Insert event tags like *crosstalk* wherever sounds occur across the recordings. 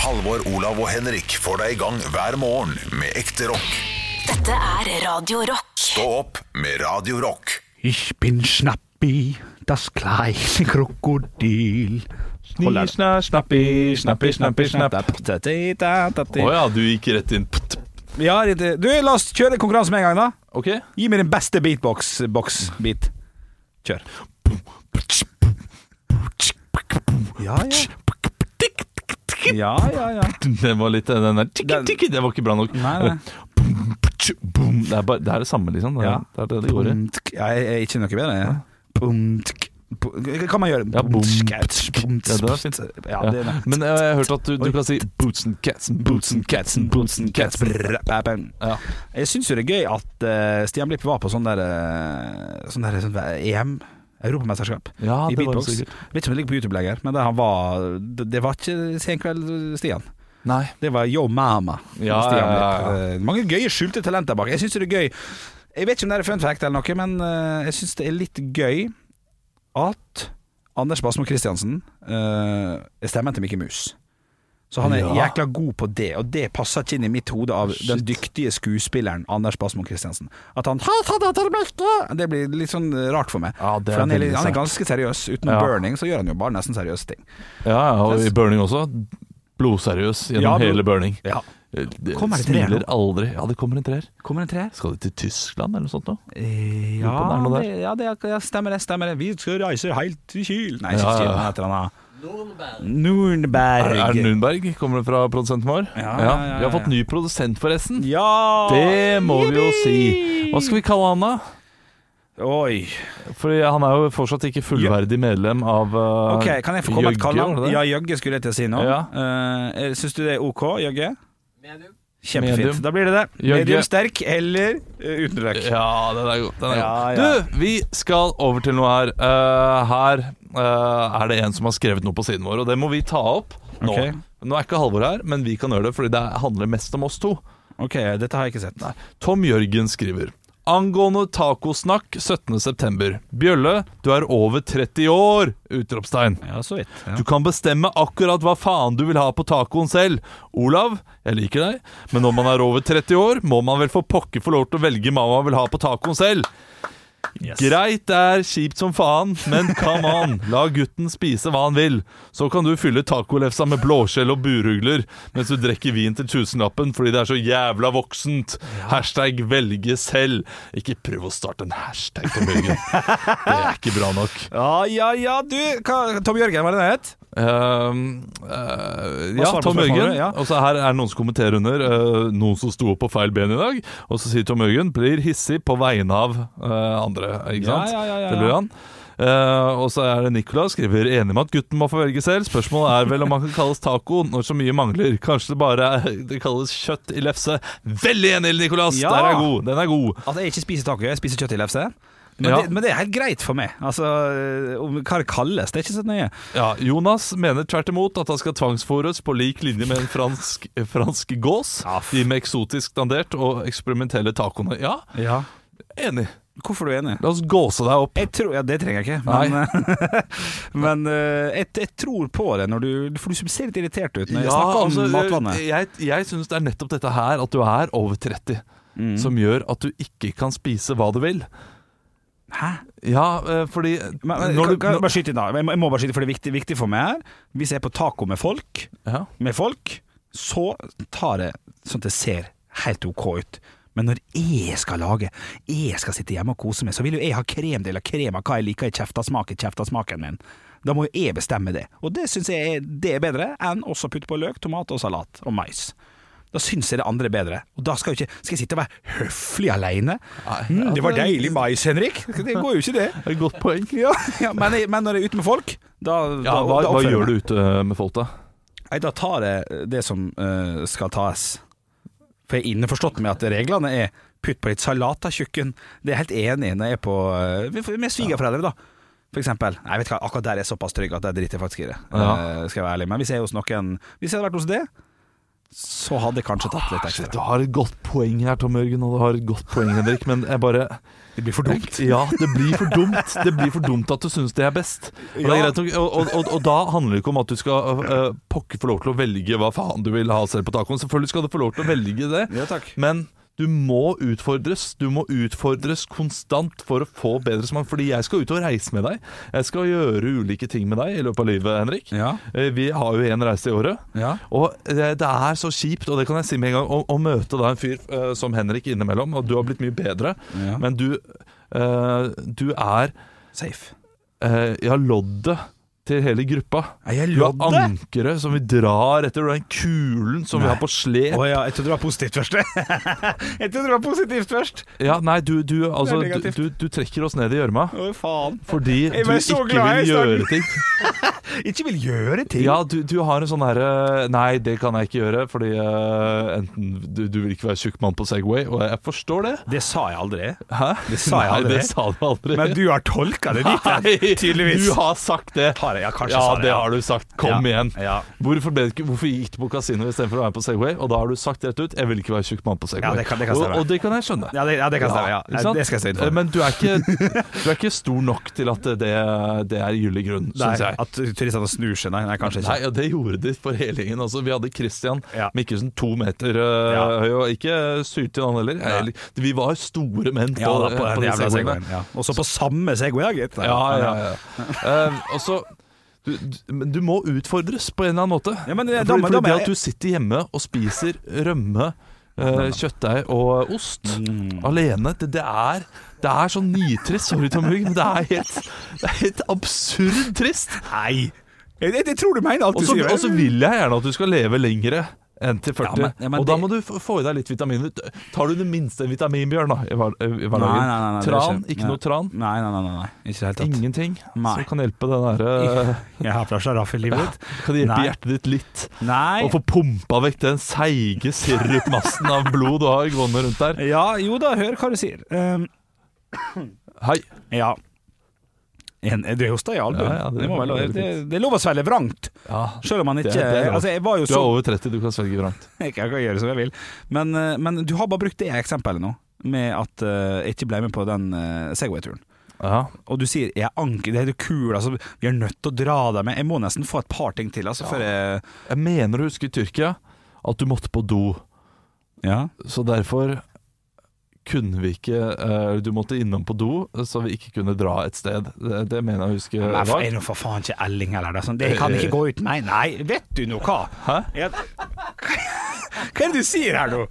Halvor, Olav og Henrik får deg i gang hver morgen med ekte rock. Dette er Radio Rock. Stå opp med Radio Rock. Ich bin Schnappi, das kleine Krokodil. Holder. Snisna, snappi, snappi, snappi, snapp. Å Å ja, du gikk rett inn. Ptt. Ja, riktig. Du, la oss kjøre konkurranse med en gang, da. Ok. Gi meg din beste beatbox-boks-beat. Kjør. Ja, ja. Ja, ja, ja. Den var litt Den der tikki, Den- tikki, det var ikke bra nok. Nei, nei. Boom, ptsj, boom. Det er, bare, det er det samme, liksom. Det er Ja. det, er det det går i. Pumtk. Ja, jeg er ikke noe bedre. jeg. Pumtk. Pu- Hva kan man gjøre? Ja, bom, Pumtsk, pumtsk, Ja, det var fint. Ja, Ja. det er det. Men jeg, jeg har hørt at du, du kan si boots and cats, boots and cats, boots and cats. Brr, bæ, bæ. Ja. Jeg syns jo det er gøy at eh, Stian Blipp var på sånn der, eh, sånn der sånn der EM, europamesterskap, ja, i det var det beatbox. sikkert. Jeg vet ikke om det ligger på YouTube lenger, men det, han var, det, det var ikke Senkveld-Stian. Nei. Det var Yo Mama. Ja, Stian ja, ja, Blipp. Eh, Mange gøye skjulte talenter bak. Jeg syns det er gøy Jeg vet ikke om det er fun fact eller noe, men eh, jeg syns det er litt gøy at Anders Basmo Christiansen eh, er stemmen til Mikke Mus. Så han er Ja. jækla god på det, og det passer ikke inn i mitt hode av den dyktige skuespilleren Anders Basmo Christiansen. At han Det blir litt sånn rart for meg. Ja, det for er han er, litt- veldig han er sært. ganske seriøs. Utenom Ja. burning så gjør han jo bare nesten seriøse ting. Ja, ja, og i Burning også. Blodseriøs Ja, gjennom blod- hele Burning. Ja. Det Kommer det treer smiler aldri. Ja, det kommer en treer. Kommer en treer? Skal de til Tyskland eller noe sånt nå? Eh, Lurer på om det er Ja, noe det, ja, det er- ja, stemmer det, stemmer det. Vi skal reise helt til Kiel. Nei, ikke Ja, ja, Kiel, ja. men et eller annet. Nurnberg. Er, er Nunberg? Kommer det fra produsenten vår? Ja, ja, ja, Vi har ja. fått ny produsent, forresten. Ja! Det må vi jo si. Hva skal vi kalle han, da? Oi. For han er jo fortsatt ikke fullverdig medlem av uh, Ok, kan jeg få komme med et Jøgge, var det kallenavn? det? Ja, Jøgge skulle jeg til å si nå. Eh, Syns du det er OK, Jøgge? Kjempefint. Medium. Da blir det det. Jøgge. Medium sterk eller eh, uten røyk. Ja, den er god. Den er Ja, god. ja. Du, vi skal over til noe her. Eh, her eh, er det en som har skrevet noe på siden vår, og det må vi ta opp nå. Ok. Nå er ikke Halvor her, men vi kan gjøre det, fordi det handler mest om oss to. Ok, dette har jeg ikke sett. Tom Jørgen skriver Angående tacosnakk 17. september Bjølle, du er over 30 år! Utropstegn. Ja, så vidt. Ja. Du kan bestemme akkurat hva faen du vil ha på tacoen selv. Olav, jeg liker deg, men når man er over 30 år, må man vel for pokker få lov til å velge hva man vil ha på tacoen selv. Greit, det er kjipt som faen, men come on, la gutten spise hva han vil. Så kan du fylle tacolefsa med blåskjell og burugler mens du drikker vin til tusenlappen fordi det er så jævla voksent. Hashtag velge selv. Ikke prøv å starte en hashtag til Børgen. Det er ikke bra nok. Ja, ja, ja, du hva, Tom Jørgen, var det det het? Ehm, eh, Hva ja, svarer på Tom spørsmålet? Jørgen. Ja. Og så her er det noen som kommenterer under. eh, noen som sto opp på feil ben i dag. Og så sier Tom Jørgen blir hissig på vegne av eh, andre. Ikke Ja, sant? ja, ja, ja, Det ja. lurer han. Eh, og så er det Nicolas skriver enig med at gutten må få velge selv. Spørsmålet er vel om han kan kalles taco når så mye mangler. Kanskje det bare er, det kalles kjøtt i lefse. Veldig enig, Nicolas! Ja. Der er god. Den er god. At Altså, jeg ikke spiser taco, jeg spiser kjøtt i lefse. Men, Ja. det, men det er helt greit for meg. Altså, om Hva det kalles, det er ikke så nøye. Ja, Jonas mener tvert imot at han skal tvangsfôres på lik linje med en fransk, eh, fransk gås. Ja, f- De med eksotisk dandert og eksperimentelle tacoene. Ja, enig. Hvorfor er du enig? La oss gåse deg opp. Jeg tror, ja, Det trenger jeg ikke, men, eh, men eh, jeg, jeg tror på det når du For du ser litt irritert ut når jeg snakker om altså, matvannet. Jeg, jeg syns det er nettopp dette her, at du er over 30, Mm. som gjør at du ikke kan spise hva du vil. Hæ? Ja, eh, fordi Men, men, når kan, du, kan jeg når, bare skyte inn, da. Jeg må, jeg må bare skyte, for det er viktig, viktig for meg her. Hvis jeg er på taco med folk, ja. med folk så tar det sånn at det ser helt OK ut. Men når jeg skal lage, jeg skal sitte hjemme og kose meg, så vil jo jeg ha kremdel av krem av hva jeg liker i kjefta smak i kjefta smaken min. Da må jo jeg bestemme det. Og det syns jeg er, det er bedre enn også å putte på løk, tomat og salat og mais. Da syns jeg det andre er bedre. Og da skal, jeg ikke, skal jeg sitte og være høflig aleine. Mm, det var deilig mais, Henrik. Det går jo ikke, det. Det er et godt poeng. Ja, ja, men, jeg, men når jeg er ute med folk, da, Ja, da, da hva, hva oppfører jeg meg. gjør du ute eh, med folk, da? Nei, da tar jeg det som eh, skal tas. For jeg er innforstått med at reglene er putt på litt salat av tjukken. Det er jeg helt enig i når jeg er på eh, med svigerforeldre, da. For eksempel. Nei, vet du hva, akkurat der er jeg såpass trygg at jeg driter jeg faktisk i det. Ja. Eh, skal jeg være ærlig. Men hvis jeg er hos noen Hvis jeg hadde vært hos det, så hadde jeg kanskje tatt litt Du ekstra. har et godt poeng her, Tom Jørgen, og du har et godt poeng, Henrik, men jeg bare Det blir for dumt. Ja, det blir for dumt. Det blir for dumt at du syns det er best. Og, det er Ja. greit, nok- og, og, og, og da handler det ikke om at du skal eh, pokker få lov til å velge hva faen du vil ha selv på tacoen. Selvfølgelig skal du få lov til å velge det, Ja, takk. men du må utfordres. Du må utfordres konstant for å få bedre smak. Fordi jeg skal ut og reise med deg. Jeg skal gjøre ulike ting med deg i løpet av livet, Henrik. Ja. Eh, Vi har jo én reise i året. Ja. Og eh, det, det er så kjipt, og det kan jeg si med en gang, å, å møte da en fyr eh, som Henrik innimellom. Og du har blitt mye bedre, Ja. men du, eh, du er Safe. eh, Ja, loddet til hele gruppa. Er jeg Du er loddet? ankeret som vi drar etter, og den kulen som Nei. vi har på slep. Å ja, jeg trodde det var positivt først. *laughs* jeg trodde det var positivt først. Ja, nei, du, du, altså, Det er du, negativt. du, du trekker oss ned i gjørma Å, faen. fordi du Jeg ble så ikke glad i vil starten. gjøre ting. Ikke vil gjøre ting. Ja, du, du har en sånn herre Nei, det kan jeg ikke gjøre, fordi eh, enten du, du vil ikke være tjukk mann på Segway, og jeg forstår det. Det sa jeg aldri. Hæ? Det sa jeg Nei, aldri. Det sa du aldri. Men du har tolka det dit, Nei, tydeligvis. Du har sagt det. Har jeg? Ja, kanskje ja, sa jeg, det ja. har du sagt. Kom Ja, igjen. ja. Hvorfor, ble det ikke, hvorfor gikk du på kasino istedenfor å være på Segway? Og da har du sagt rett ut 'jeg vil ikke være tjukk mann på Segway'. Ja, det kan- det kan stemme. og, og det kan jeg skjønne. Ja, det, ja, det kan stemme. Ja. ikke sant? Eh, Det skal jeg stå inne for. Men du er, ikke, du er ikke stor nok til at det, det er gyldig grunn, Nei, syns jeg. At turistene snur seg, nei, nei kanskje ikke. Nei, og det gjorde de for hele gjengen. Altså, vi hadde Christian Ja. Mikkelsen, to meter øh, Ja. høy, og ikke syltynn han heller. Nei. Eller, Vi var store menn på, Ja, da, på på den de jævla Segwayene. segwayen. Ja. Og så på samme segway, ja, gitt. Ja, ja, ja. *laughs* Eh, og så du, du, men du må utfordres på en eller annen måte. Ja, men det- fordi, da- fordi da må det jeg- at du sitter hjemme og spiser rømme, eh, kjøttdeig og ost Mm. alene, det, det er det er så nitrist, sorry Tom Hugg, men det er helt, det er helt absurd trist. Nei! Jeg, jeg, jeg tror du mener alt Og du så sier. og så vil jeg gjerne at du skal leve lengre enn til 40. Ja, men- ja, men og da det- må du f- få i deg litt vitaminer. Tar du det minste en vitaminbjørn da, i hver- i hverdagen? Nei, nei, nei, nei, det er tran, ikke nei. noe tran. Nei, nei, nei, nei, nei. ikke i det hele tatt. Ingenting Nei. som kan hjelpe den derre Jeg har flasja raff i livet mitt. Kan det hjelpe Nei. hjertet ditt litt? Nei. Å få pumpa vekk den seige sirupmassen av blod du har gående rundt der. Ja, jo da, hør hva du sier. Um, Hei. ja. En, du er hosta i albuen. Ja, ja, det- det, må vel- det- det, det er lov å svelge vrangt. Selv om man ikke Det- det er bra. Altså, jeg var jo Du er så over 30, du kan svelge vrangt. *laughs* Jeg kan gjøre som jeg vil. Men, eh, men du har bare brukt det eksempelet nå, med at eh, jeg ikke ble med på den eh, Segway-turen. Ja. Og du sier 'jeg anker, det er jo kul', altså, vi er nødt til å dra deg med. Jeg må nesten få et par ting til, altså, før jeg Jeg mener å huske i Tyrkia at du måtte på do, Ja. så derfor kunne vi ikke eh, Du måtte innom på do, så vi ikke kunne dra et sted. Det, det mener jeg å huske. Jeg var. er nå for faen ikke Elling heller, det, er sånn, det kan ikke gå uten meg. Nei, vet du nå hva? Hæ? Jeg, *laughs* hva er det du sier her nå?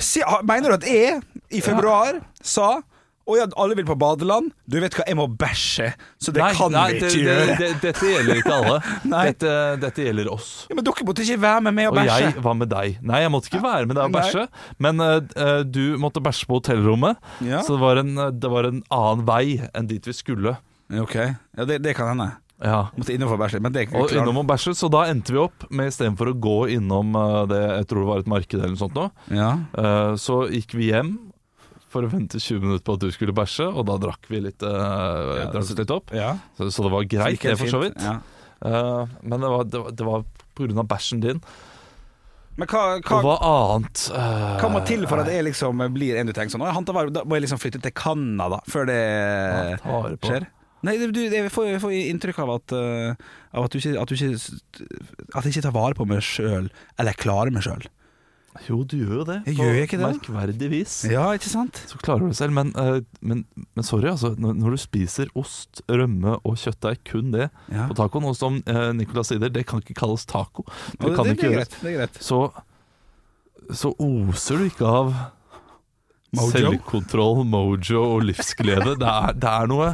Si, mener du at jeg i februar sa å ja, alle vil på badeland. Du vet hva, jeg må bæsje, så det Nei, kan nei, vi det- ikke det- gjøre. det- Dette gjelder ikke alle. *laughs* Nei. Dette, dette gjelder oss. Ja, men dere måtte ikke være med meg og Og bæsje. jeg var med deg. Nei, jeg måtte ikke være med deg og bæsje, men eh, eh, du måtte bæsje på hotellrommet. Ja. Så det var, en, eh, det var en annen vei enn dit vi skulle. Ok, ja, det, det kan hende. Ja. Måtte innom for bæsje, men det er ikke Og klart. innom og bæsje, så da endte vi opp med istedenfor å gå innom eh, det jeg tror det var et marked eller noe sånt nå, Ja. eh, så gikk vi hjem for å vente 20 minutter på at du skulle bæsje, og da drakk vi litt, eh, drakk oss litt opp. Ja. Så, så det var Så greit, gikk det, for så fint. vidt. Ja. Eh, men det var, det, var- det var på grunn av bæsjen din. Men hva, Og hva, hva annet eh, hva må til for at jeg liksom blir en du tenker sånn «Å, han tar vare- Da må jeg liksom flytte til Canada før det Ja, ta vare på. Eh, skjer? Nei, du, jeg får, jeg får inntrykk av at, eh, av at du ikke At, du ikke, at jeg ikke tar vare på meg sjøl, eller klarer meg sjøl. Jo, du gjør jo det. Jeg på gjør jo ikke det. Merkverdigvis. Ja, ikke sant? Så klarer du det selv. Men, eh, men, men sorry, altså. Når, når du spiser ost, rømme og kjøttdeig, kun det Ja. på tacoen, og som eh, Nicolas sier, det kan ikke kalles taco. Og Det det, kan det, ikke er gjøres. greit, det er greit. Så, så oser du ikke av Mojo? selvkontroll, mojo og livsglede. Det er, det er noe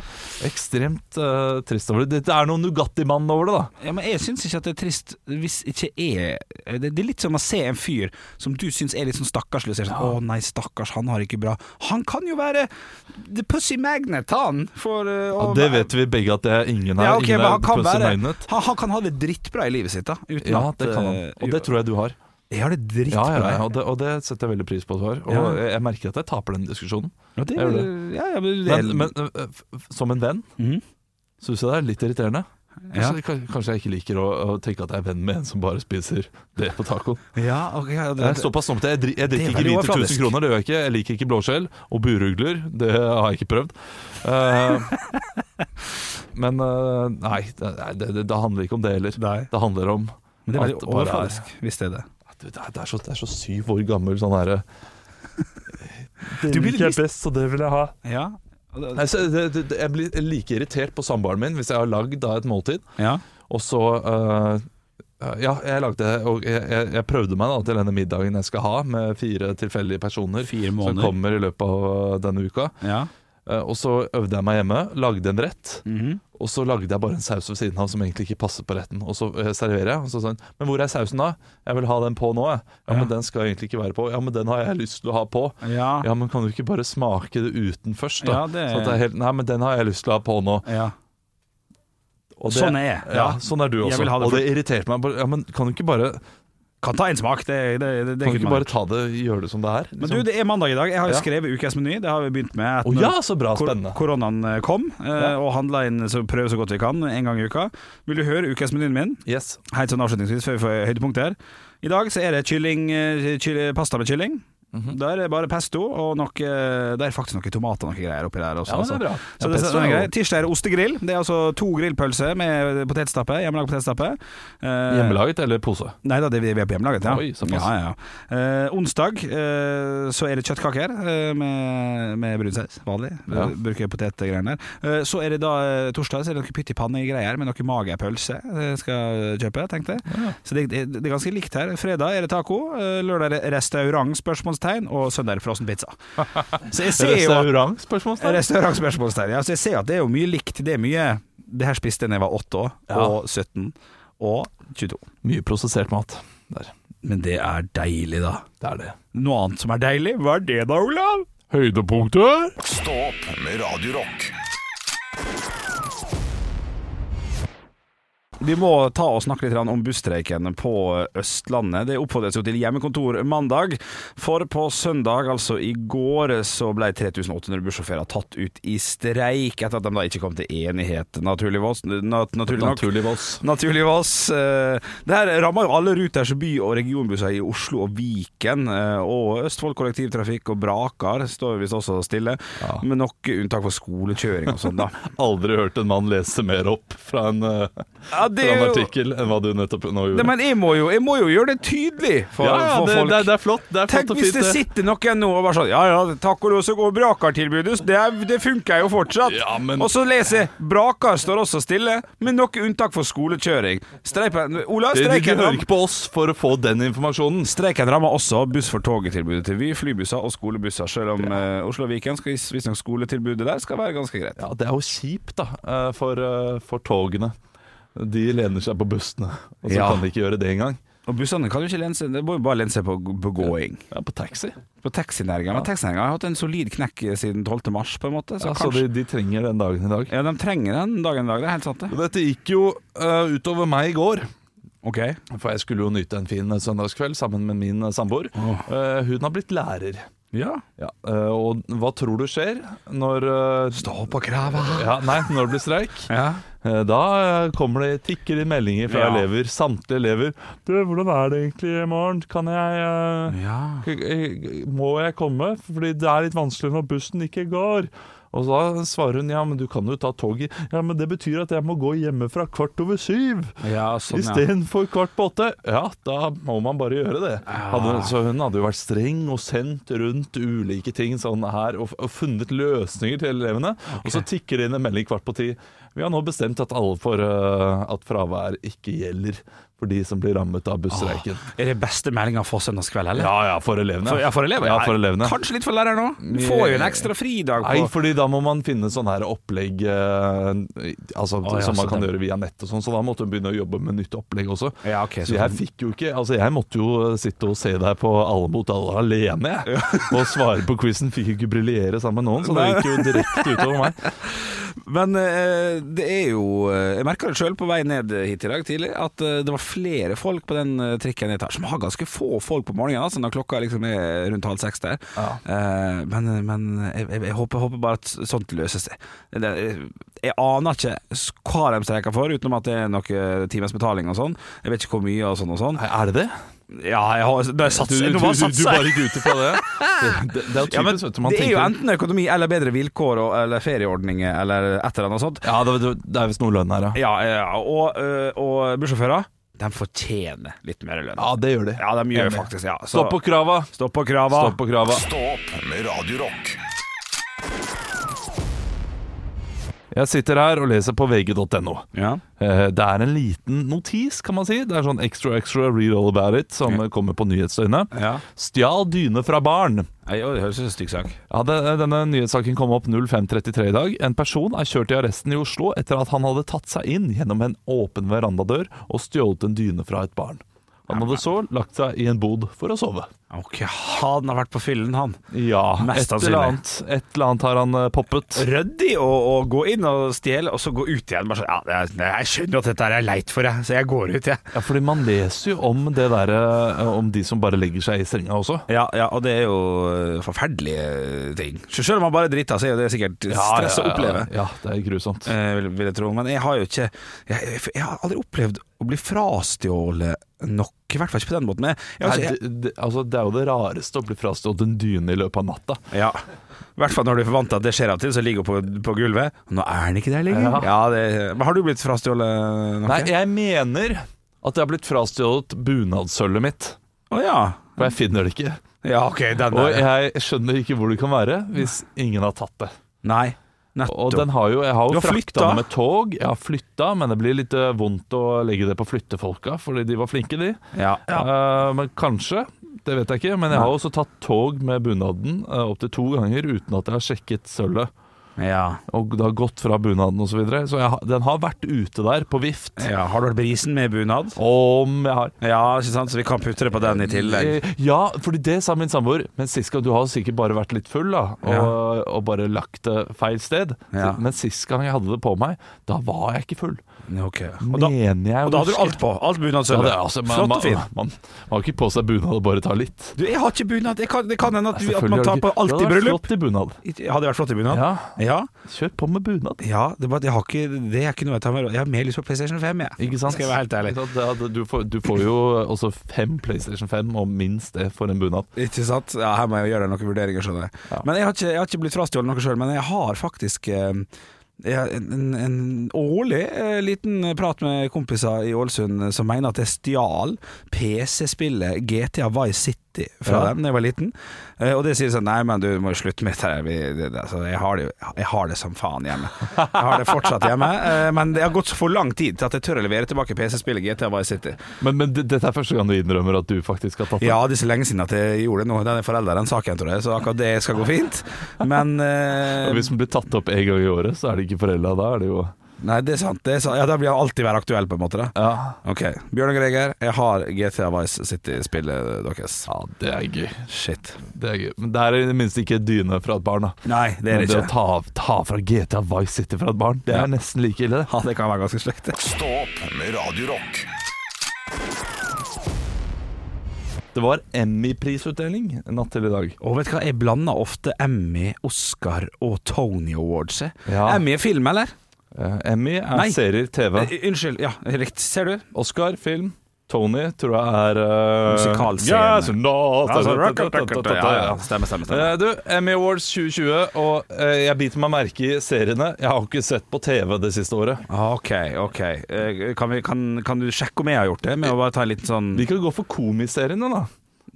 ekstremt eh, trist over det. Det er noe Nugatti-mann over det, da. Ja, men jeg syns ikke at det er trist hvis ikke jeg Det, det er litt som å se en fyr som du syns er litt sånn stakkarslig, og sier sånn 'Å nei, stakkars, han har ikke bra'. Han kan jo være the pussy magnet, han. For, uh, Ja, å det være- vet vi begge at det er ingen Ja, her. ok, ingen men er han kan pussy være magnet. han, han kan ha det drittbra i livet sitt, da. Uten Ja, at det kan han. uh, Og det tror jeg du har. Jeg har det Ja, drittbra. ja, ja og, det, og det setter jeg veldig pris på at du har. Og Ja. jeg- jeg merker at jeg taper den diskusjonen. Ja, det, Jeg gjør det. ja, ja, men det Men, men øh, øh, f- som en venn Mhm. syns jeg det er litt irriterende. Ja. Kanskje, kan- kanskje jeg ikke liker å, å tenke at jeg er venn med en som bare spiser det på tacoen. Ja, ok ja, Jeg det, er såpass snobbete. Jeg, dri- Det er jeg drikker ikke veldig vin til overfladisk. 1000 kroner, det gjør jeg ikke. Jeg liker ikke blåskjell og burugler. Det har jeg ikke prøvd. Eh, *laughs* men eh, nei, det, nei, det, det, det handler ikke om det heller. Nei. Det handler om men det er at veldig det bare er- overfladisk, hvis det er det. at du, det, er, det, er så, det er så syv år gammel sånn herre Det Du blir liker jeg litt- best, og det vil jeg ha. Ja. Nei, så, det, det, det- jeg blir like irritert på samboeren min hvis jeg har lagd da et måltid. ja. Og så øh, øh, Ja, jeg lagde Og jeg, jeg, jeg prøvde meg da til denne middagen jeg skal ha med fire tilfeldige personer Fire som måneder. kommer i løpet av øh, denne uka. ja. Eh, Og så øvde jeg meg hjemme, lagde en rett. Mhm. Og så lagde jeg bare en saus ved siden av som egentlig ikke passer på retten. Og så eh, serverer jeg. Og så sånn, men hvor er sausen da? Jeg vil ha den på nå, jeg. Ja, men den skal egentlig ikke være på. Ja, men den har jeg lyst til å ha på. ja. Ja, men kan du ikke bare smake det uten først, Ah. da? Ja, det er- Sånn at det er helt, nei, men den har jeg lyst til å ha på nå. ja. Og Sånn er jeg. Ja, Ja. sånn er du Jeg også. vil ha det og for- det irriterte meg. bare, Ja, men kan du ikke bare, Kan ta en smak, det, det, det, det er kan du ikke ikke bare bare ta det, gjøre det som det er? Men liksom? du, det er mandag i dag. Jeg har jo Ja. skrevet ukens meny. Det har vi begynt med. at Å når ja, så bra. kor- Spennende. Koronaen eh, kom, eh, Ja. og handla inn så prøve så godt vi kan en gang i uka. Vil du høre ukens menyen min? Yes. Helt sånn avslutningsvis før vi får høydepunktet her. I dag så er det kylling, eh, kyll- pasta med kylling. Mhm. Der er det bare pesto, og nok, eh, det er faktisk noen tomater og noen greier oppi der også. Ja, men det altså. er bra. Så Ja, det, pesto den er er grei. jo- Tirsdag er det ostegrill. Det er altså to grillpølser med potetstappe, hjemmelaga potetstappe. Eh, Hjemmelaget eller pose? Nei da, det vi vi er på hjemmelaget, ja. Oi, såpass. ja, ja, ja. Eh, onsdag eh, så er det kjøttkaker eh, med, med brunsaus, vanlig. Ja. Bruker potetgreiene der. Eh, så er det da eh, torsdag så er det noen pytt i panne-greier med noen magepølse jeg skal kjøpe, tenkte jeg. Så det, det, det er ganske likt her. Fredag er det taco, eh, lørdag er det restaurant, spørsmålstegn, og søndag er det frossen *laughs* pizza. Så jeg ser jo at Restaurant? Spørsmålstegn. Restaurant spørsmålstegn. Ja, så jeg ser at det er jo mye likt. Det er mye Det her spiste jeg da jeg var 8 år, Ja. og 17, og 22. Mye prosessert mat. Der. Men det er deilig, da. Det er det. Noe annet som er deilig? Hva er det da, Olav? Høydepunkter? Stå opp med Radio Rock. Vi må ta og snakke litt grann om busstreiken på Østlandet. Det oppfordres jo til hjemmekontor mandag, for på søndag, altså i går, så ble 3800 bussjåfører tatt ut i streik etter at de da ikke kom til enighet, naturligvis. Nat naturlig nok. Naturligvis. Naturligvis. Eh, Det her rammer jo alle Ruters by- og regionbusser i Oslo og Viken. eh, Og Østfold kollektivtrafikk og Brakar står visst også stille, Ja. med noe unntak for skolekjøring og sånn, *laughs* da. Aldri hørt en mann lese mer opp fra en, eh, Ja, det fra en er jo artikkel enn hva du nettopp nå gjorde. Nei, men jeg må, jo, jeg må jo gjøre det tydelig for, ja, ja, for det, folk. det, det er flott. Det er flott Tenk og hvis fint. det det. sitter noen nå og bare sånn Ja ja, tacoloset går Brakar-tilbudet, det, er- det funker jo fortsatt. Ja, men- Og så leser jeg Brakar står også stille, med noe unntak for skolekjøring. Streipen Ola, Du, du streiken hører ram. ikke på oss for å få den informasjonen. Streiken rammer også buss for toget-tilbudet til Vy, flybusser og skolebusser, selv om eh, Oslo og Viken skal visstnok skoletilbudet der skal være ganske greit. Ja, Det er jo kjipt da, eh, for, eh, for togene. De lener seg på bussene, og så Ja. kan de ikke gjøre det engang. Og bussene kan jo ikke lene seg, det må jo bare lene seg på, på gåing. Ja, på taxi. På taxinæringa. Men taxinæringa har hatt en solid knekk eh, siden 12. mars, på en måte. Så Ja, så kanskje de, de trenger den dagen i dag. Ja, de trenger den dagen i dag, det er helt sant, det. Dette gikk jo eh, utover meg i går. Ok. For jeg skulle jo nyte en fin eh, søndagskveld sammen med min eh, samboer. Eh, hun har blitt lærer. Ja. Ja, eh, og hva tror du skjer når eh, Stå på krava! ja, Nei, når det blir streik? Ja. Eh, Da eh, kommer det tikker det meldinger fra Ja. elever, samtlige elever. Du, 'Hvordan er det egentlig i morgen? Kan jeg eh, ja. k- eh, Må jeg komme? Fordi det er litt vanskelig når bussen ikke går.' Og da svarer hun 'Ja, men du kan jo ta toget.' 'Ja, men det betyr at jeg må gå hjemmefra kvart over syv.' Ja, sånn, ja. Istedenfor kvart på åtte. Ja, da må man bare gjøre det. Hadde, så hun hadde jo vært streng og sendt rundt ulike ting sånn her og, og funnet løsninger til elevene. Og så tikker det inn en melding kvart på ti. Vi har nå bestemt at alle får eh, at fravær ikke gjelder for de som blir rammet av busstreiken. Er det beste meldinga for søndagskveld, eller? Ja ja, for elevene. For, ja, for elever. Ja, for elevene. Kanskje litt for læreren òg. Du får jo en ekstra fridag på Nei, fordi da må man finne sånn her opplegg eh, altså, Å, ja, som man så kan det- gjøre via nett og sånn, så da måtte hun begynne å jobbe med nytt opplegg også. Ja, ok, så så- jeg fikk jo ikke Altså, jeg måtte jo sitte og se deg på Alle mot alle *laughs* alene, jeg. og svare på quizen. Fikk jo ikke briljere sammen med noen, så det Nei. gikk jo direkte utover meg. Men eh, det er jo eh, Jeg merka det sjøl på vei ned hit i dag tidlig, at eh, det var flere folk på den eh, trikken jeg tar, som har ganske få folk på morgenen, altså når klokka liksom er rundt halv seks der. Eh, men men jeg, jeg, jeg håper, håper bare at sånt løser seg. Det, jeg aner ikke s- hva de streiker for, utenom at det er noen times betaling og sånn. Jeg vet ikke hvor mye og sånn og sånn. Nei, Er det det? Ja, jeg har, det er Du, sats, du, du, nå du bare satser jeg. bare gikk ut ifra det? Det, det, det er jo Ja, men typisk, vet du. Man det er jo tenker- enten økonomi eller bedre vilkår og, eller ferieordninger eller et eller annet sånt. Ja, det, det- det er visst noe lønn her, ja. Ja, ja og, øh, og bussjåfører De fortjener litt mer lønn. Ja, det gjør de. Ja, de gjør faktisk ja. Så, Stå på krava! stopp på krava. Stå på krava. Stå opp med Radio Rock. Ah. Jeg sitter her og leser på vg.no. Ja. Eh, Det er en liten notis, kan man si. Det er sånn extra extra read all about it som eh, kommer på nyhetsdøgnet. Ja. Stjal dyne fra barn. Nei, jo, det høres ut som en stygg sak. Ja, det- eh, Denne nyhetssaken kom opp 05.33 i dag. En person er kjørt i arresten i Oslo etter at han hadde tatt seg inn gjennom en åpen verandadør og stjålet en dyne fra et barn. Han hadde så lagt seg i en bod for å sove. Ok, han har vært på fyllen, han. Ja, Mest et eller, sannsynlig. annet, et eller annet har han eh, poppet. Ryddig å, å gå inn og stjele, og så gå ut igjen. Bare sånn, ja, det er- jeg skjønner at dette her er leit for deg, så jeg går ut, jeg. Ja, fordi man leser jo om det der, eh, om de som bare legger seg i senga også. Ja, ja, og det er jo øh, forferdelige ting. Så selv om han bare driter, så er jo det sikkert stress å oppleve. Ja, det er grusomt. eh, vil, vil jeg tro. Men jeg har jo ikke jeg, jeg, jeg har aldri opplevd å bli frastjålet nok. I hvert fall ikke på den måten. Men jeg, Nei, altså, jeg, det, det, altså, det er jo det rareste å bli frastjålet en dyne i løpet av natta. ja. I hvert fall når du er vant til at det skjer av og til, så ligger hun på, på gulvet. Nå er den ikke der lenger. Ja. Ja. det, men har du blitt frastjålet noe? Nei, jeg mener at jeg har blitt frastjålet bunadssølvet mitt. Å ja. For jeg finner det ikke. Ja, ok, den Og der. jeg skjønner ikke hvor det kan være hvis ingen har tatt det. Nei. Og Nettopp. den har jo, jeg har Du jo har frakta flytta? det med tog. Jeg har flytta, men det blir litt eh, vondt å legge det på flyttefolka, fordi de var flinke, de. Ja. Eh, men kanskje. Det vet jeg ikke. Men jeg har også tatt tog med bunaden eh, opptil to ganger uten at jeg har sjekket sølvet. ja. og det har gått fra bunaden osv. Så, videre. så jeg, har- den har vært ute der på vift. ja. Har du vært brisen med bunad? Om jeg har Ja, ikke sant? så vi kan putte det på den i tillegg. Eh, Ja, fordi det sa min samboer. Men sist gang du har sikkert bare vært litt full da, og, og bare lagt det feil sted. Ja. Men sist gang jeg hadde det på meg, da var jeg ikke full. Ok. Og da, Mener jeg og da hadde du alt på. Alt Ja, det, bunadsølvet. er altså, man, Flott og man, fin. man, man har ikke på seg bunad og bare tar litt. Du, jeg har ikke bunad. Jeg kan, det kan hende at, vi, at Selvfølgelig man har tar du på ikke- alt Det i hadde vært bryllup. Flott i bunad. Jeg hadde vært flott i bunad. Ja, ja. kjør på med bunad. Ja, det, er bare at jeg har ikke, det er ikke noe jeg tar med råd. Jeg har mer lyst på PlayStation 5, jeg. Ikke sant? Skal jeg være helt ærlig. Ikke sant? Det er- Du får, du får jo også fem PlayStation 5, og minst det for en bunad. Ikke sant? Ja, her må jeg gjøre noen vurderinger, skjønner jeg. Ja. Men jeg har, ikke, jeg har ikke blitt frastjålet noe sjøl, men jeg har faktisk eh, jeg har en, en, en årlig eh, liten prat med kompiser i Ålesund eh, som mener at jeg stjal PC-spillet GTA Vice City fra Ja. dem da jeg var liten. Eh, og det sier sånn Nei, men du må jo slutte med dette her. Vi- det- det- altså, Jeg har det jo Jeg har det som faen hjemme. Jeg har det fortsatt hjemme, eh, men det har gått for lang tid til at jeg tør å levere tilbake PC-spillet GTA Vice City. Men, men det- dette er første gang du innrømmer at du faktisk har tatt det. Ja, det er så lenge siden at jeg gjorde det nå. Den er forelda, den saken, tror jeg. Så akkurat det skal gå fint. Men *laughs* eh, Og Hvis den blir tatt opp en gang i året, så er det ikke forelda. Da er det jo Nei, det er sant. Det er sant. Ja, da blir han alltid være aktuell, på en måte. da Ja, Ok, Bjørn og Greger, jeg har GTA Vice City-spillet deres. ja det er gøy. Shit. Det er gøy. Men det er i det minste ikke dyne fra et barn, da. Nei, det er Men det det å ikke. ta, ta fra GTA Vice City fra et barn, det er nesten like ille. det. Ja, det kan være ganske slekt. Stå opp med Radio Rock. Det var Emmy-prisutdeling natt til i dag. Og vet du hva, jeg blander ofte Emmy, Oscar og Tony Awards. jeg. Ja. Emmy er film, eller? Eh, Emmy er Nei. serier, TV. Eh, Unnskyld. Ja, riktig. Ser du? Oscar, film. Tony tror jeg er uh, Musikalscene. Yes, no, Altså, rock, rock, rock, rock, rock. Ja, ja. Stemmer, stemmer. stemmer. Eh, Du, Emmy Awards 2020, og eh, jeg biter meg merke i seriene. Jeg har ikke sett på TV det siste året. Ok, ok. Eh, Kan, vi, kan, kan du sjekke om jeg har gjort det, med å bare ta en liten sånn Vi kan gå for komiseriene, da.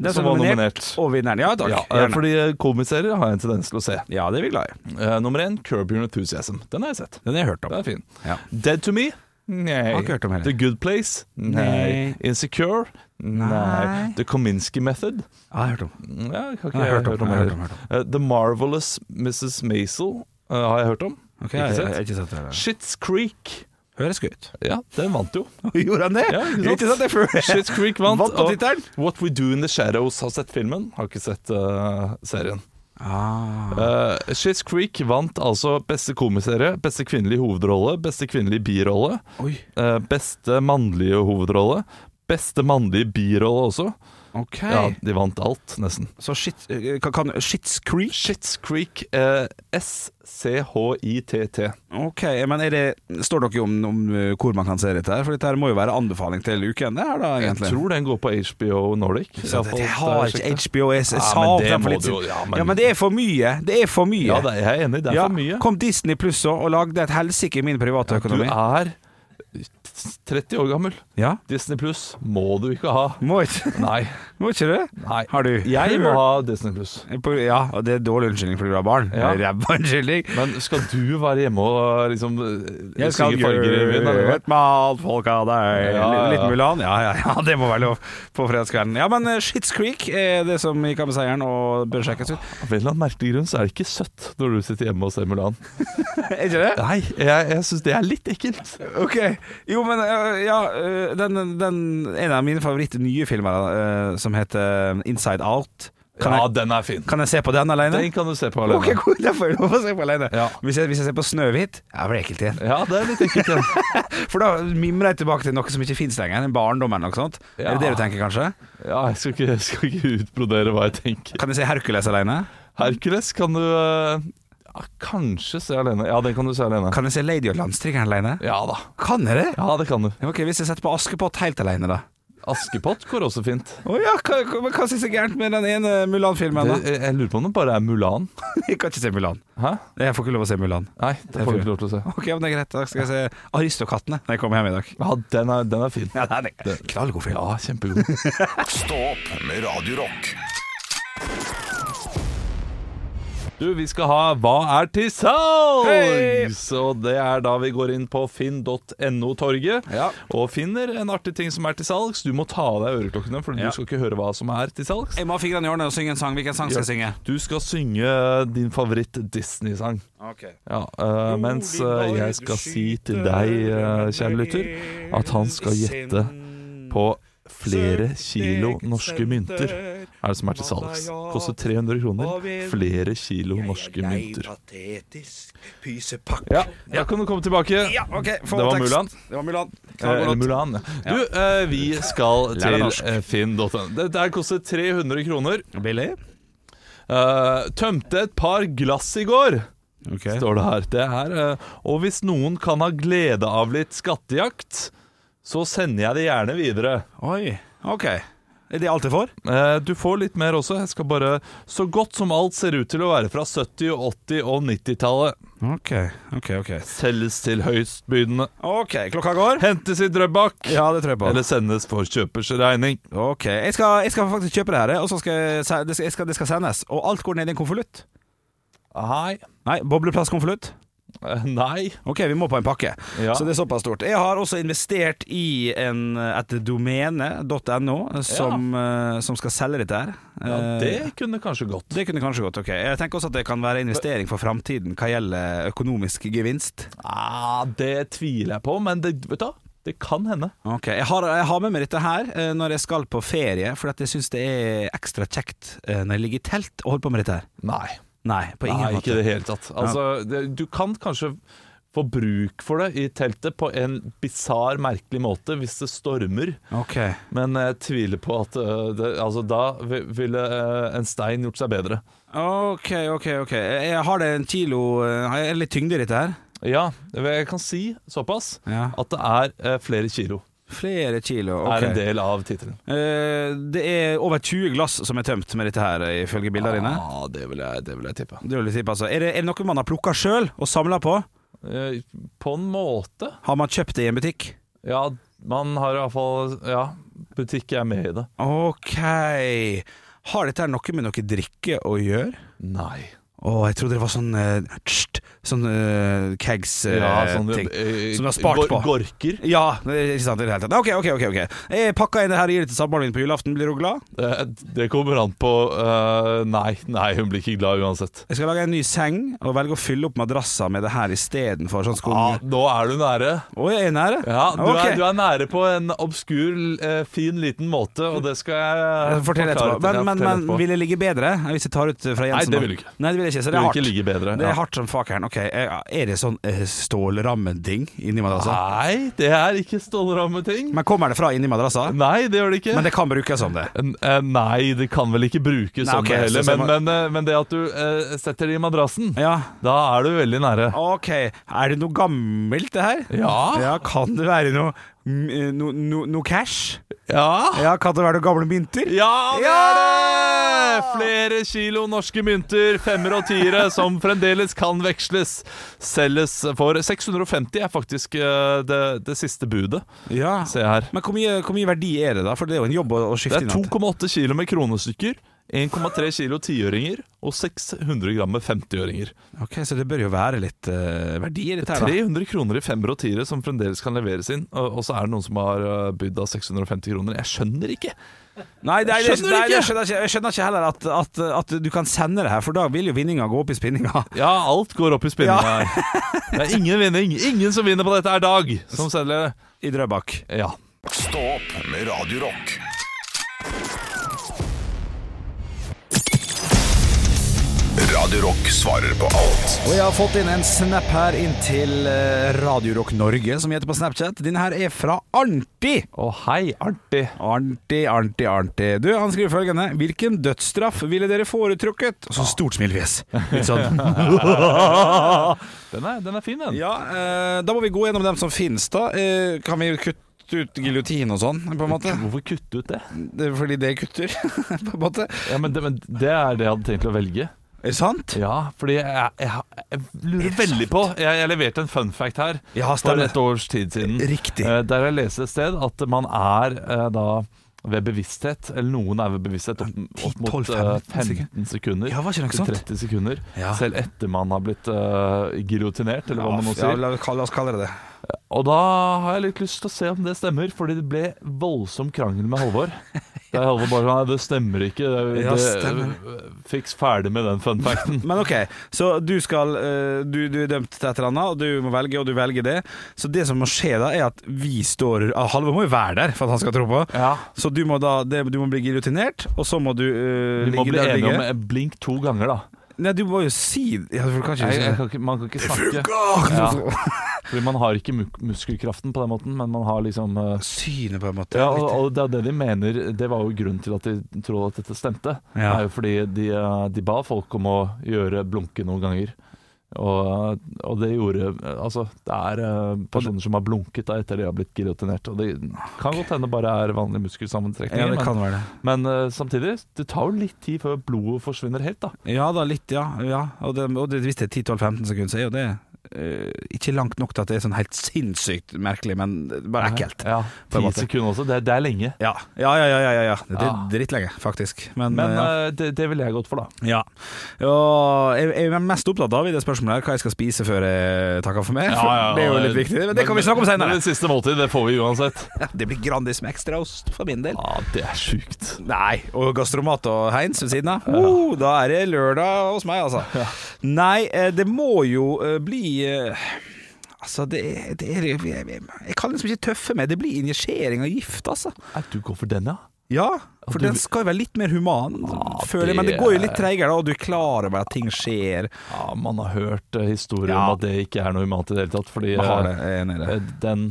Den som var nominert. Og vinneren. Ja takk. Ja, eh, Gjerne. fordi eh, komiserier har jeg en tendens til å se. ja, det er vi glad i. Eh, Nummer én, Curb Your Enthusiasm. Den har jeg sett. Den har jeg hørt om. Den er fin. Ja. Dead to Me? Nei. Har ikke hørt om heller. The Good Place? Nei. Insecure? Nei. Nei. The Kominsky Method? Ja, jeg har hørt om. Ja, har Nei, jeg ikke har hørt om, hørt om jeg har hørt heller. om, jeg Eh, The Marvelous Mrs. Maisel eh, har jeg hørt om. Ok, ikke jeg- jeg sett. har ikke sett det. Shits Creek. Høres gøy *laughs* ut. Ja, den vant jo. Gjorde han det? Ja, ikke sant? ikke sant? Det *laughs* er før Shits Creek vant. Vant på og tittelen. What We Do In The Shadows har sett filmen, har ikke sett eh, serien. Ah. Eh, Schitt's Creek vant altså beste komiserie, beste kvinnelige hovedrolle, beste kvinnelige birolle, Oi, eh, beste mannlige hovedrolle, beste mannlige birolle også. ok Ja, de vant alt, nesten. Så shit, eh, kan- kan Shits Creek? Schitt's Creek, eh, S-C-H-I-T-T. Ok, men er det, står dere om, om eh, hvor man kan se dette her? For dette her må jo være anbefaling til uken, det her da, Jeg egentlig. tror den går på HBO Nordic. i Så hvert det, fall, jeg da har jeg ikke sjekket. HBO. Jeg, jeg Ja, sa men opp det den må for litt du jo- siden. Ja, ja, men- men, det er for mye. Det er for mye. Ja, det er, jeg er enig, det er Ja, for mye. Kom Disney pluss også og lagde et helsike i min private Du økonomi. er 30 år gammel. Ja, Disney Pluss må du ikke ha. må ikke, *laughs* Nei. må ikke det? Nei. Har du? *laughs* Jeg må ha Disney Pluss. På- Ja, og det er dårlig unnskyldning fordi du har barn. Ja. Ræva unnskyldning. Men skal du være hjemme og liksom eh, Jeg skal synge farger i byen? eller hva? gjøre alt folk av deg. Ja, ja, ja. Liten Mulan. Ja, ja, ja, *laughs* det må være lov på fredagskvelden. Ja, men eh, Shits Creek er det som gikk av med seieren og bør sjekkes ut. *laughs* Av en eller annen merkelig grunn så er det ikke søtt når du sitter hjemme og ser Mulan. Er ikke det? Nei, jeg, jeg syns det er litt ekkelt. Ok. Jo, men øh, ja øh, den, den, En av mine favoritt nye filmer øh, som heter Inside Out. Kan, Ja, jeg, den er fin. kan jeg se på den alene? Den kan du se på Ok, alene. *laughs* cool, da får jeg lov å se på alene. Ja. Hvis, jeg, hvis jeg ser på Snøhvit, ja, blir det ekkelt igjen. Ja, det er litt ekkelt igjen. For da mimrer jeg tilbake til noe som ikke finnes lenger. En barndom eller noe sånt. Ja. Er det det du tenker, kanskje? Ja, jeg skal ikke, jeg skal ikke utbrodere hva jeg tenker. Kan jeg se Hercules alene? Hercules kan du eh, ja, kanskje se alene. Ja, den kan du se alene. Kan jeg se Lady og Landstrykeren alene? Ja da. Kan jeg det? Ja, det kan du. Ja, Ok, Hvis jeg setter på Askepott helt alene, da? Askepott går også fint. Å ja, hva, hva, men hva synes jeg er gærent med den ene Mulan-filmen, Det, da? jeg lurer på om det bare er Mulan. *laughs* Jeg kan ikke se Mulan. Hæ? Jeg får ikke lov å se Mulan. Nei, det får vi ikke lov til å se. Ok, men det er greit. Da skal jeg se Aristokattene når jeg kommer hjem i dag. Ja, den er, den er fin. Ja, det er en knallgod film. Ja, kjempegod. Stå opp med Radio Rock. Du, vi skal ha Hva er til salgs? Og det er da vi går inn på finn.no-torget Ja. og finner en artig ting som er til salgs. Du må ta av deg øreklokkene, for Ja. du skal ikke høre hva som er til salgs. Jeg må ha fingrene i årene og synge en sang. Hvilken sang skal jeg synge? Du skal synge din favoritt-Disney-sang. Okay. Ja, øh, mens øh, jeg skal si til deg, øh, kjære lytter, at han skal gjette på flere kilo norske mynter er det som er til salgs. Koster 300 kroner. Flere kilo norske mynter. Patetisk pysepakk. Ja, da kan du komme tilbake. Ja, ok, få Det var tekst. Mulan. Det var Mulan. Eh, Eller Mulan. ja. Du, eh, vi skal Lær deg til norsk. eh, finn.no. Det der koster 300 kroner. Billig? Eh, Tømte et par glass i går. Ok. står det her. Det er, eh, og hvis noen kan ha glede av litt skattejakt, så sender jeg det gjerne videre. Oi. Ok. Er det alt jeg får? Eh, Du får litt mer også. Jeg skal bare Så godt som alt ser ut til å være fra 70-, 80- og 90-tallet. Ok, ok, ok. Selges til høystbydende. Ok, klokka går. Hentes i Drøbak. Ja, det tror jeg på. Eller sendes for kjøpers regning. Ok, jeg skal, jeg skal faktisk kjøpe det her, og så skal jeg, se- det skal, jeg skal, det skal sendes. Og alt går ned i en konvolutt. Nei. Nei, bobleplastkonvolutt. Eh, Nei. Ok, vi må på en pakke. Ja. Så det er såpass stort. Jeg har også investert i en, et domene.no, som, eh, som skal selge dette her. Ja, Eh, det kunne kanskje gått. det kunne kanskje gått, ok. Jeg tenker også at det kan være investering for framtiden hva gjelder økonomisk gevinst. Ah, det tviler jeg på, men det, vet du hva? Det kan hende. Ok, jeg har, jeg har med meg dette her eh, når jeg skal på ferie, for at jeg syns det er ekstra kjekt eh, når jeg ligger i telt og holder på med dette her. Nei. Nei, på ingen Nei, måte. ikke i det hele tatt. Altså, det, du kan kanskje få bruk for det i teltet på en bisarr, merkelig måte hvis det stormer, Ok, men jeg tviler på at øh, det, altså, da vi- ville øh, en stein gjort seg bedre. ok, ok. ok Jeg Har det en kilo eh, Har jeg litt tyngde i dette her? Ja, jeg kan si såpass Ja. at det er øh, flere kilo. Flere kilo. Det ok Er en del av tittelen. Eh, Det er over 20 glass som er tømt med dette her, eh, ifølge bildene dine. Ja, det vil jeg, det vil jeg tippe. Det er, jo litt kjipt, altså. er, det, er det noe man har plukka sjøl og samla på? Eh, På en måte. Har man kjøpt det i en butikk? Ja, man har iallfall Ja, butikk er med i det. Ok. Har dette her noe med noe drikke å gjøre? Nei. Å, jeg trodde det var sånn eh, tst, sånne eh, kegs eh, Ja, sånn, ting, eh, som du har spart gor- på. Gorker. Ja, det er ikke sant i det hele tatt. Ok, ok, ok. ok Jeg pakker inn det her og gir det til samboeren min på julaften. Blir hun glad? Eh, Det kommer an på eh, Nei, nei, hun blir ikke glad uansett. Jeg skal lage en ny seng og velge å fylle opp madrassa med det her istedenfor. Sånn skulle Ah, Å, nå er du nære. jeg er nære? Ja, du, Ok. er, du er nære på en obskur, eh, fin, liten måte, og det skal jeg eh, Fortell etterpå. Men, forklare til- ja, men, fortell men etterpå. vil jeg ligge bedre hvis jeg tar ut eh, fra Jensen? Nei, det da? vil du ikke. Nei, det vil jeg ikke, så det Du er vil hardt. ikke ligge bedre, Det ja. er hardt som fakeren. Ok, er er det sånn eh, stålrammeting inni madrassa? Nei, det er ikke stålrammeting. Men kommer det fra inni madrassa? Nei, det gjør det ikke. Men det kan brukes som det. N- eh, Nei, det kan vel ikke brukes Nei, sånn ok, det så- heller, så men, jeg men, eh, men det at du eh, setter det i madrassen, Ja. da er du veldig nære. Ok, er det noe gammelt det her? Ja. ja kan det være noe mm, no, no, no cash? Ja! Ja, kan det være noen gamle mynter? Ja, det er det! Flere kilo norske mynter, femmer og tiere, som fremdeles kan veksles. Selges for 650 er faktisk eh, det, det siste budet. Ja. Se her. Men hvor mye, hvor mye verdi er det da? For det er jo en jobb å, å Det skifte er inn. alt. 2,8 kilo med kronestykker, 1,3 kilo tiøringer og 600 gram med 50-øringer. Ok, så det bør jo være litt eh, verdi i dette her da. 300 kroner i femmer og tiere som fremdeles kan leveres inn, og, og så er det noen som har eh, bydd av 650 kroner. Jeg skjønner ikke! Nei, det, er- det, Skjønner du det, ikke? jeg, skjønner ikke, jeg skjønner ikke heller at, at, at du kan sende det her, for da vil jo vinninga gå opp i spinninga. Ja, alt går opp i spinninga her. Det er ingen vinning. Ingen som vinner på dette, er Dag, som selger det. I Drøbak. Ja. Stå opp med Radio Rock. Radio Rock svarer på alt. Og jeg har fått inn en snap her inn til eh, Radio Rock Norge, som heter på Snapchat. Denne her er fra Arnti. Å, hei, *laughs* artig. Arnti, Arnti, Arnti. Du, han skriver følgende Hvilken dødsstraff ville dere foretrukket? Og så stort smilefjes. *laughs* Litt sånn *laughs* Den er, den er fin, den. Ja, eh, da må vi gå gjennom dem som finnes, da. Eh, kan vi kutte ut giljotin og sånn, på en måte? Hvorfor kutte ut det? Det er fordi det kutter, *laughs* på en måte. Ja, men det, men det er det jeg hadde tenkt å velge. Er det sant? Ja, fordi jeg, jeg, jeg lurer veldig på Jeg, jeg leverte en fun fact her Ja, for stemmer. et års tid siden. Riktig. Eh, Der jeg leste et sted at man er eh, da ved bevissthet, eller noen er ved bevissthet opp, opp mot 10-12-15 eh, 15 sekunder Ja, var ikke det til sant? 30 sekunder. Ja. Selv etter man har blitt uh, giljotinert, eller hva man nå Ja, sier. la, la oss kalle det det. Og da har jeg litt lyst til å se om det stemmer, fordi det ble voldsom krangel med *laughs* Halvor. Der Halvor bare sånn Nei, det stemmer ikke. Det, Ja, det- stemmer. Fiks ferdig med den fun *laughs* facten. Men ok, så du, skal, eh, du, du er dømt til et eller annet, og du må velge, og du velger det. Så det som må skje da, er at vi står ah, Halvor må jo være der for at han skal tro på. Ja. Så du må da det, Du må bli giljotinert, og så må du eh, Vi må ligge bli der du enige ligger. om blink to ganger, *laughs* da. Nei, du må jo si ja, for du kan ikke Jeg, jeg kan ikke, man kan ikke snakke. Ja. Fordi man har ikke mu- muskelkraften på den måten, men man har liksom eh, Synet, på en måte. ja, og, Litt- og det er det de mener Det var jo grunnen til at de trodde at dette stemte. Det Ja. er jo fordi de, eh, de ba folk om å gjøre blunke noen ganger. Og, og det gjorde Altså, det er eh, personer som har blunket da etter de har blitt giljotinert. Og det kan godt hende bare er vanlig ja, muskelsammentrekninger. det kan være det. men, men eh, samtidig, det tar jo litt tid før blodet forsvinner helt, da. Ja da, litt, ja. ja. Og, det, og det, hvis det er 10-12-15 sekunder, så er jo det eh, ikke langt nok til at det er sånn helt sinnssykt merkelig, men eh, bare ekkelt. Ja, på en Ti måte. sekunder også. Det, det er lenge. Ja, ja, ja. ja, ja, ja. Det er Ja. drittlenge, faktisk. Men, Ah. Men eh, ja. eh, det, det ville jeg gått for, da. ja. Og jeg, jeg er mest opptatt av i det spørsmålet her hva jeg skal spise før jeg takker for meg. for *laughs* det er jo litt viktig, men det kan vi snakke om Men senere. Det siste måltid, det får vi uansett. Det blir Grandis med ekstraost for min del. Ja, det er sjukt. Nei, og Gastromat og Heinz ved siden av. Oh, da er det lørdag hos meg, altså. Nei, eh, det må jo eh, bli eh, Altså, det, er- det er jeg, jeg, jeg kan liksom ikke tøffe meg. Det blir injisering av gift, altså. Nei, du går for den, ja? Ja, for du- den skal jo være litt mer human, føler jeg. Men det det går jo litt treigere, da, og du er klar over at ting skjer. ja man har hørt eh, historier Ja. om at det ikke er noe humant i det hele tatt, fordi Jeg har eh, det, jeg er enig i det. eh, den,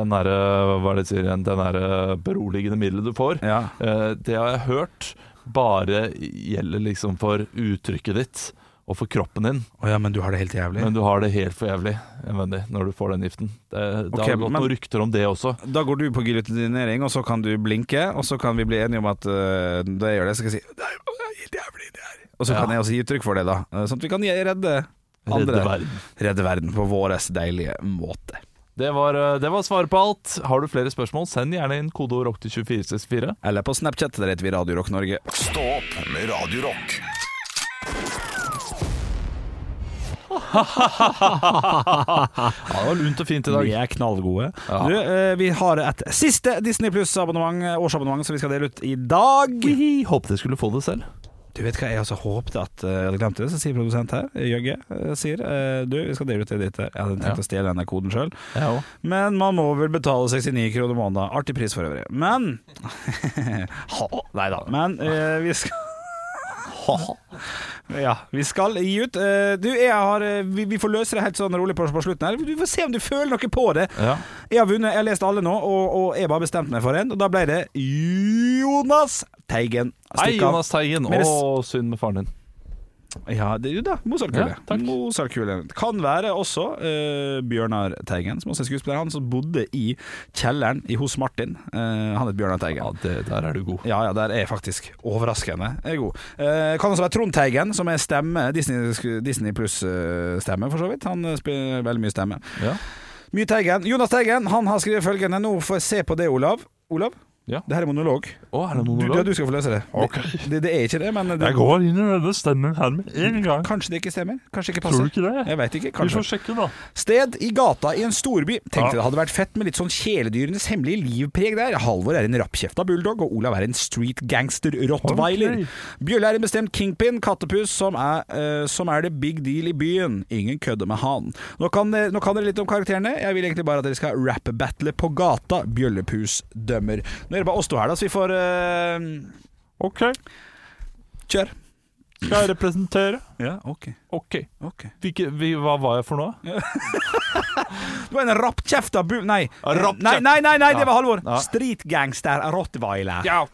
den derre Hva er det de sier igjen? Den derre beroligende middelet du får, Ja. eh, det har jeg hørt bare gjelder liksom for uttrykket ditt og for kroppen din. Å ja, men du har det helt jævlig. Men du har det helt for jævlig evendig, når du får den giften. Det, det Ok, har gått men- noen rykter om det også. da går du på giljotinering, og så kan du blinke, og så kan vi bli enige om at eh, da jeg gjør det, så skal jeg si Det er jo helt jævlig, det her. Og så Ja. kan jeg også gi uttrykk for det, da. eh, Sånn at vi kan gi- redde andre. Redde verden. Redde verden på våres deilige måte. Det var, eh, det var svaret på alt. Har du flere spørsmål, send gjerne inn kodeord rock til 2464. Eller på Snapchat, der heter vi Radio Rock Norge. Stå opp med Radio Rock. Ja, det var lunt og fint i Vi dag. er knallgode. Ja. Du, eh, vi har et siste Disney Pluss-abonnement, eh, årsabonnement, som vi skal dele ut i dag. Jeg håpet jeg skulle få det selv. Du vet hva jeg altså håpte at eh, jeg hadde glemt det, så sier produsent her, Jøgge, eh, sier eh, du, vi skal dele ut det ditt her. Jeg hadde tenkt Ja. å stjele denne koden sjøl, Jeg òg. men man må vel betale 69 kroner måneden. Artig pris for øvrig. Men *laughs* ha, Nei da. Men eh, vi skal *laughs* ja, vi skal gi ut. eh, Du, jeg har eh, Vi, vi får løse det helt sånn rolig på, på slutten her. Du får se om du føler noe på det. Ja. Jeg har vunnet, jeg har lest alle nå, og, og jeg bare bestemte meg for en. Og da ble det Jonas Teigen. Hei, Stikk av. Jonas Teigen. Med det s- Å, synd med faren din. Ja, det er jo da. Mozartkule. Ja, takk. Mozartkule. Kan være også eh, Bjørnar Teigen, som også er skuespiller. Han som bodde i kjelleren i, hos Martin. Eh, han het Bjørnar Teigen. Ja, det, der er du god. Ja, ja, der er jeg faktisk overraskende er god. Eh, kan også være Trond Teigen, som er stemme. Disney, Disney pluss-stemme, for så vidt. Han eh, spiller veldig mye stemme. Ja. Mye Teigen. Jonas Teigen han har skrevet følgende. Nå får jeg se på det, Olav. Olav, Ja. det her er monolog. Å, er det Du, monolog? ja, du skal få løse det. Ok. Det, det er ikke det, men det, Jeg går inn i denne stemmen her med en gang. kanskje det ikke stemmer. Kanskje ikke Tror passer. du ikke det? Jeg veit ikke. Vi Kanskje. får sjekke, da. Sted i gata i en storby. Tenkte Ja. det hadde vært fett med litt sånn kjæledyrenes hemmelige livpreg der. Halvor er en rappkjefta bulldog, og Olav er en street gangster rottweiler. Ok. Bjølle er en bestemt kingpin, kattepus, som er, eh, som er det big deal i byen. Ingen kødder med han. Nå kan, eh, nå kan dere litt om karakterene. Jeg vil egentlig bare at dere skal rap-battle på gata. Bjøllepus dømmer. Nå er det bare oss to her, da, så vi får eh, Ok, Kjør. skal jeg representere? Ja, ok. Ok. ok. Hvilke, vi, hva var jeg for noe? Du var en rappkjefta bu... Nei. Rappkjeft. nei, nei, nei, nei, det var Halvor. Ja. Street gangster rottweiler. Ja.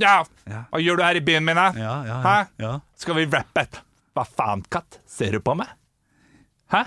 ja. Ja. Hva gjør du her i byen min, da? Ja, ja, Hæ? Ja. Skal vi rappe et? Hva faen, katt? Ser du på meg? Hæ?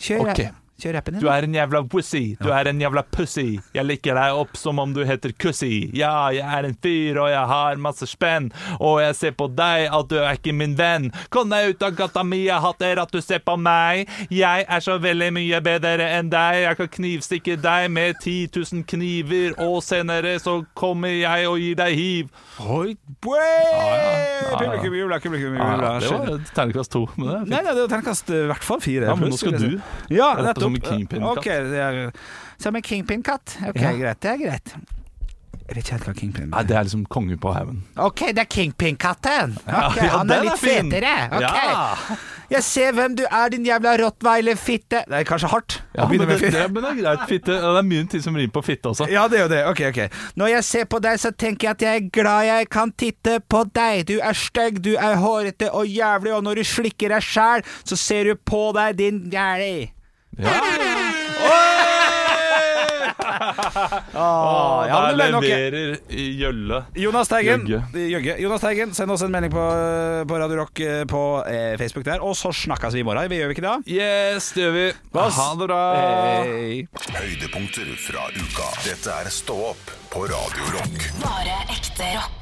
Kjør, Ok. kjør rappen din. Du er en jævla wussy, du er en jævla pussy. Jeg liker deg opp som om du heter Kussy. Ja, jeg er en fyr, og jeg har masse spenn. Og jeg ser på deg at du er ikke min venn. Kom deg ut av gata mi, jeg hater at du ser på meg. Jeg er så veldig mye bedre enn deg. Jeg kan knivstikke deg med 10 000 kniver, og senere så kommer jeg og gir deg hiv. Oi, boi! Publikum jubla, publikum jubla. det var et terningkast to. Men det er fint. Nei, nei, det var terningkast eh, i hvert fall fire. Ja, men nå pluss, skal vil jeg du si. Ja, rappe som en nettopp. kingpin-katt. Ok, det er- Som en kingpin-katt? Ok, greit. Det er greit. Er det ikke helt hva kingpin Nei, det er liksom konge på haugen. Ok, det er kingpin-katten. Ok, Ja, ja, han den er er litt fin. fetere. Ok. Ja. Jeg ser hvem du er, din jævla rottweiler-fitte. Det er kanskje hardt Ja, å men begynne det, med fitte. det, men det er greit. Fitte. Ja, Det er mye ting som rimer på fitte også. Ja, det er jo det. Ok, ok. Når jeg ser på deg, så tenker jeg at jeg er glad jeg kan titte på deg. Du er stygg, du er hårete og jævlig, og når du slikker deg sjæl, så ser du på deg, din jævlig. Ah, ja, men det der ble nok- leverer Gjølle. Jonas Teigen, Jøgge. Jøgge. Jonas Teigen, send oss en melding på, på Radio Rock eh, på eh, Facebook der, og så snakkes vi i morgen. Vi gjør vi ikke det? Yes, det gjør vi. Ha det bra. Hei. Høydepunkter fra uka. Dette er Stå opp på Radio Rock. Bare ekte rock.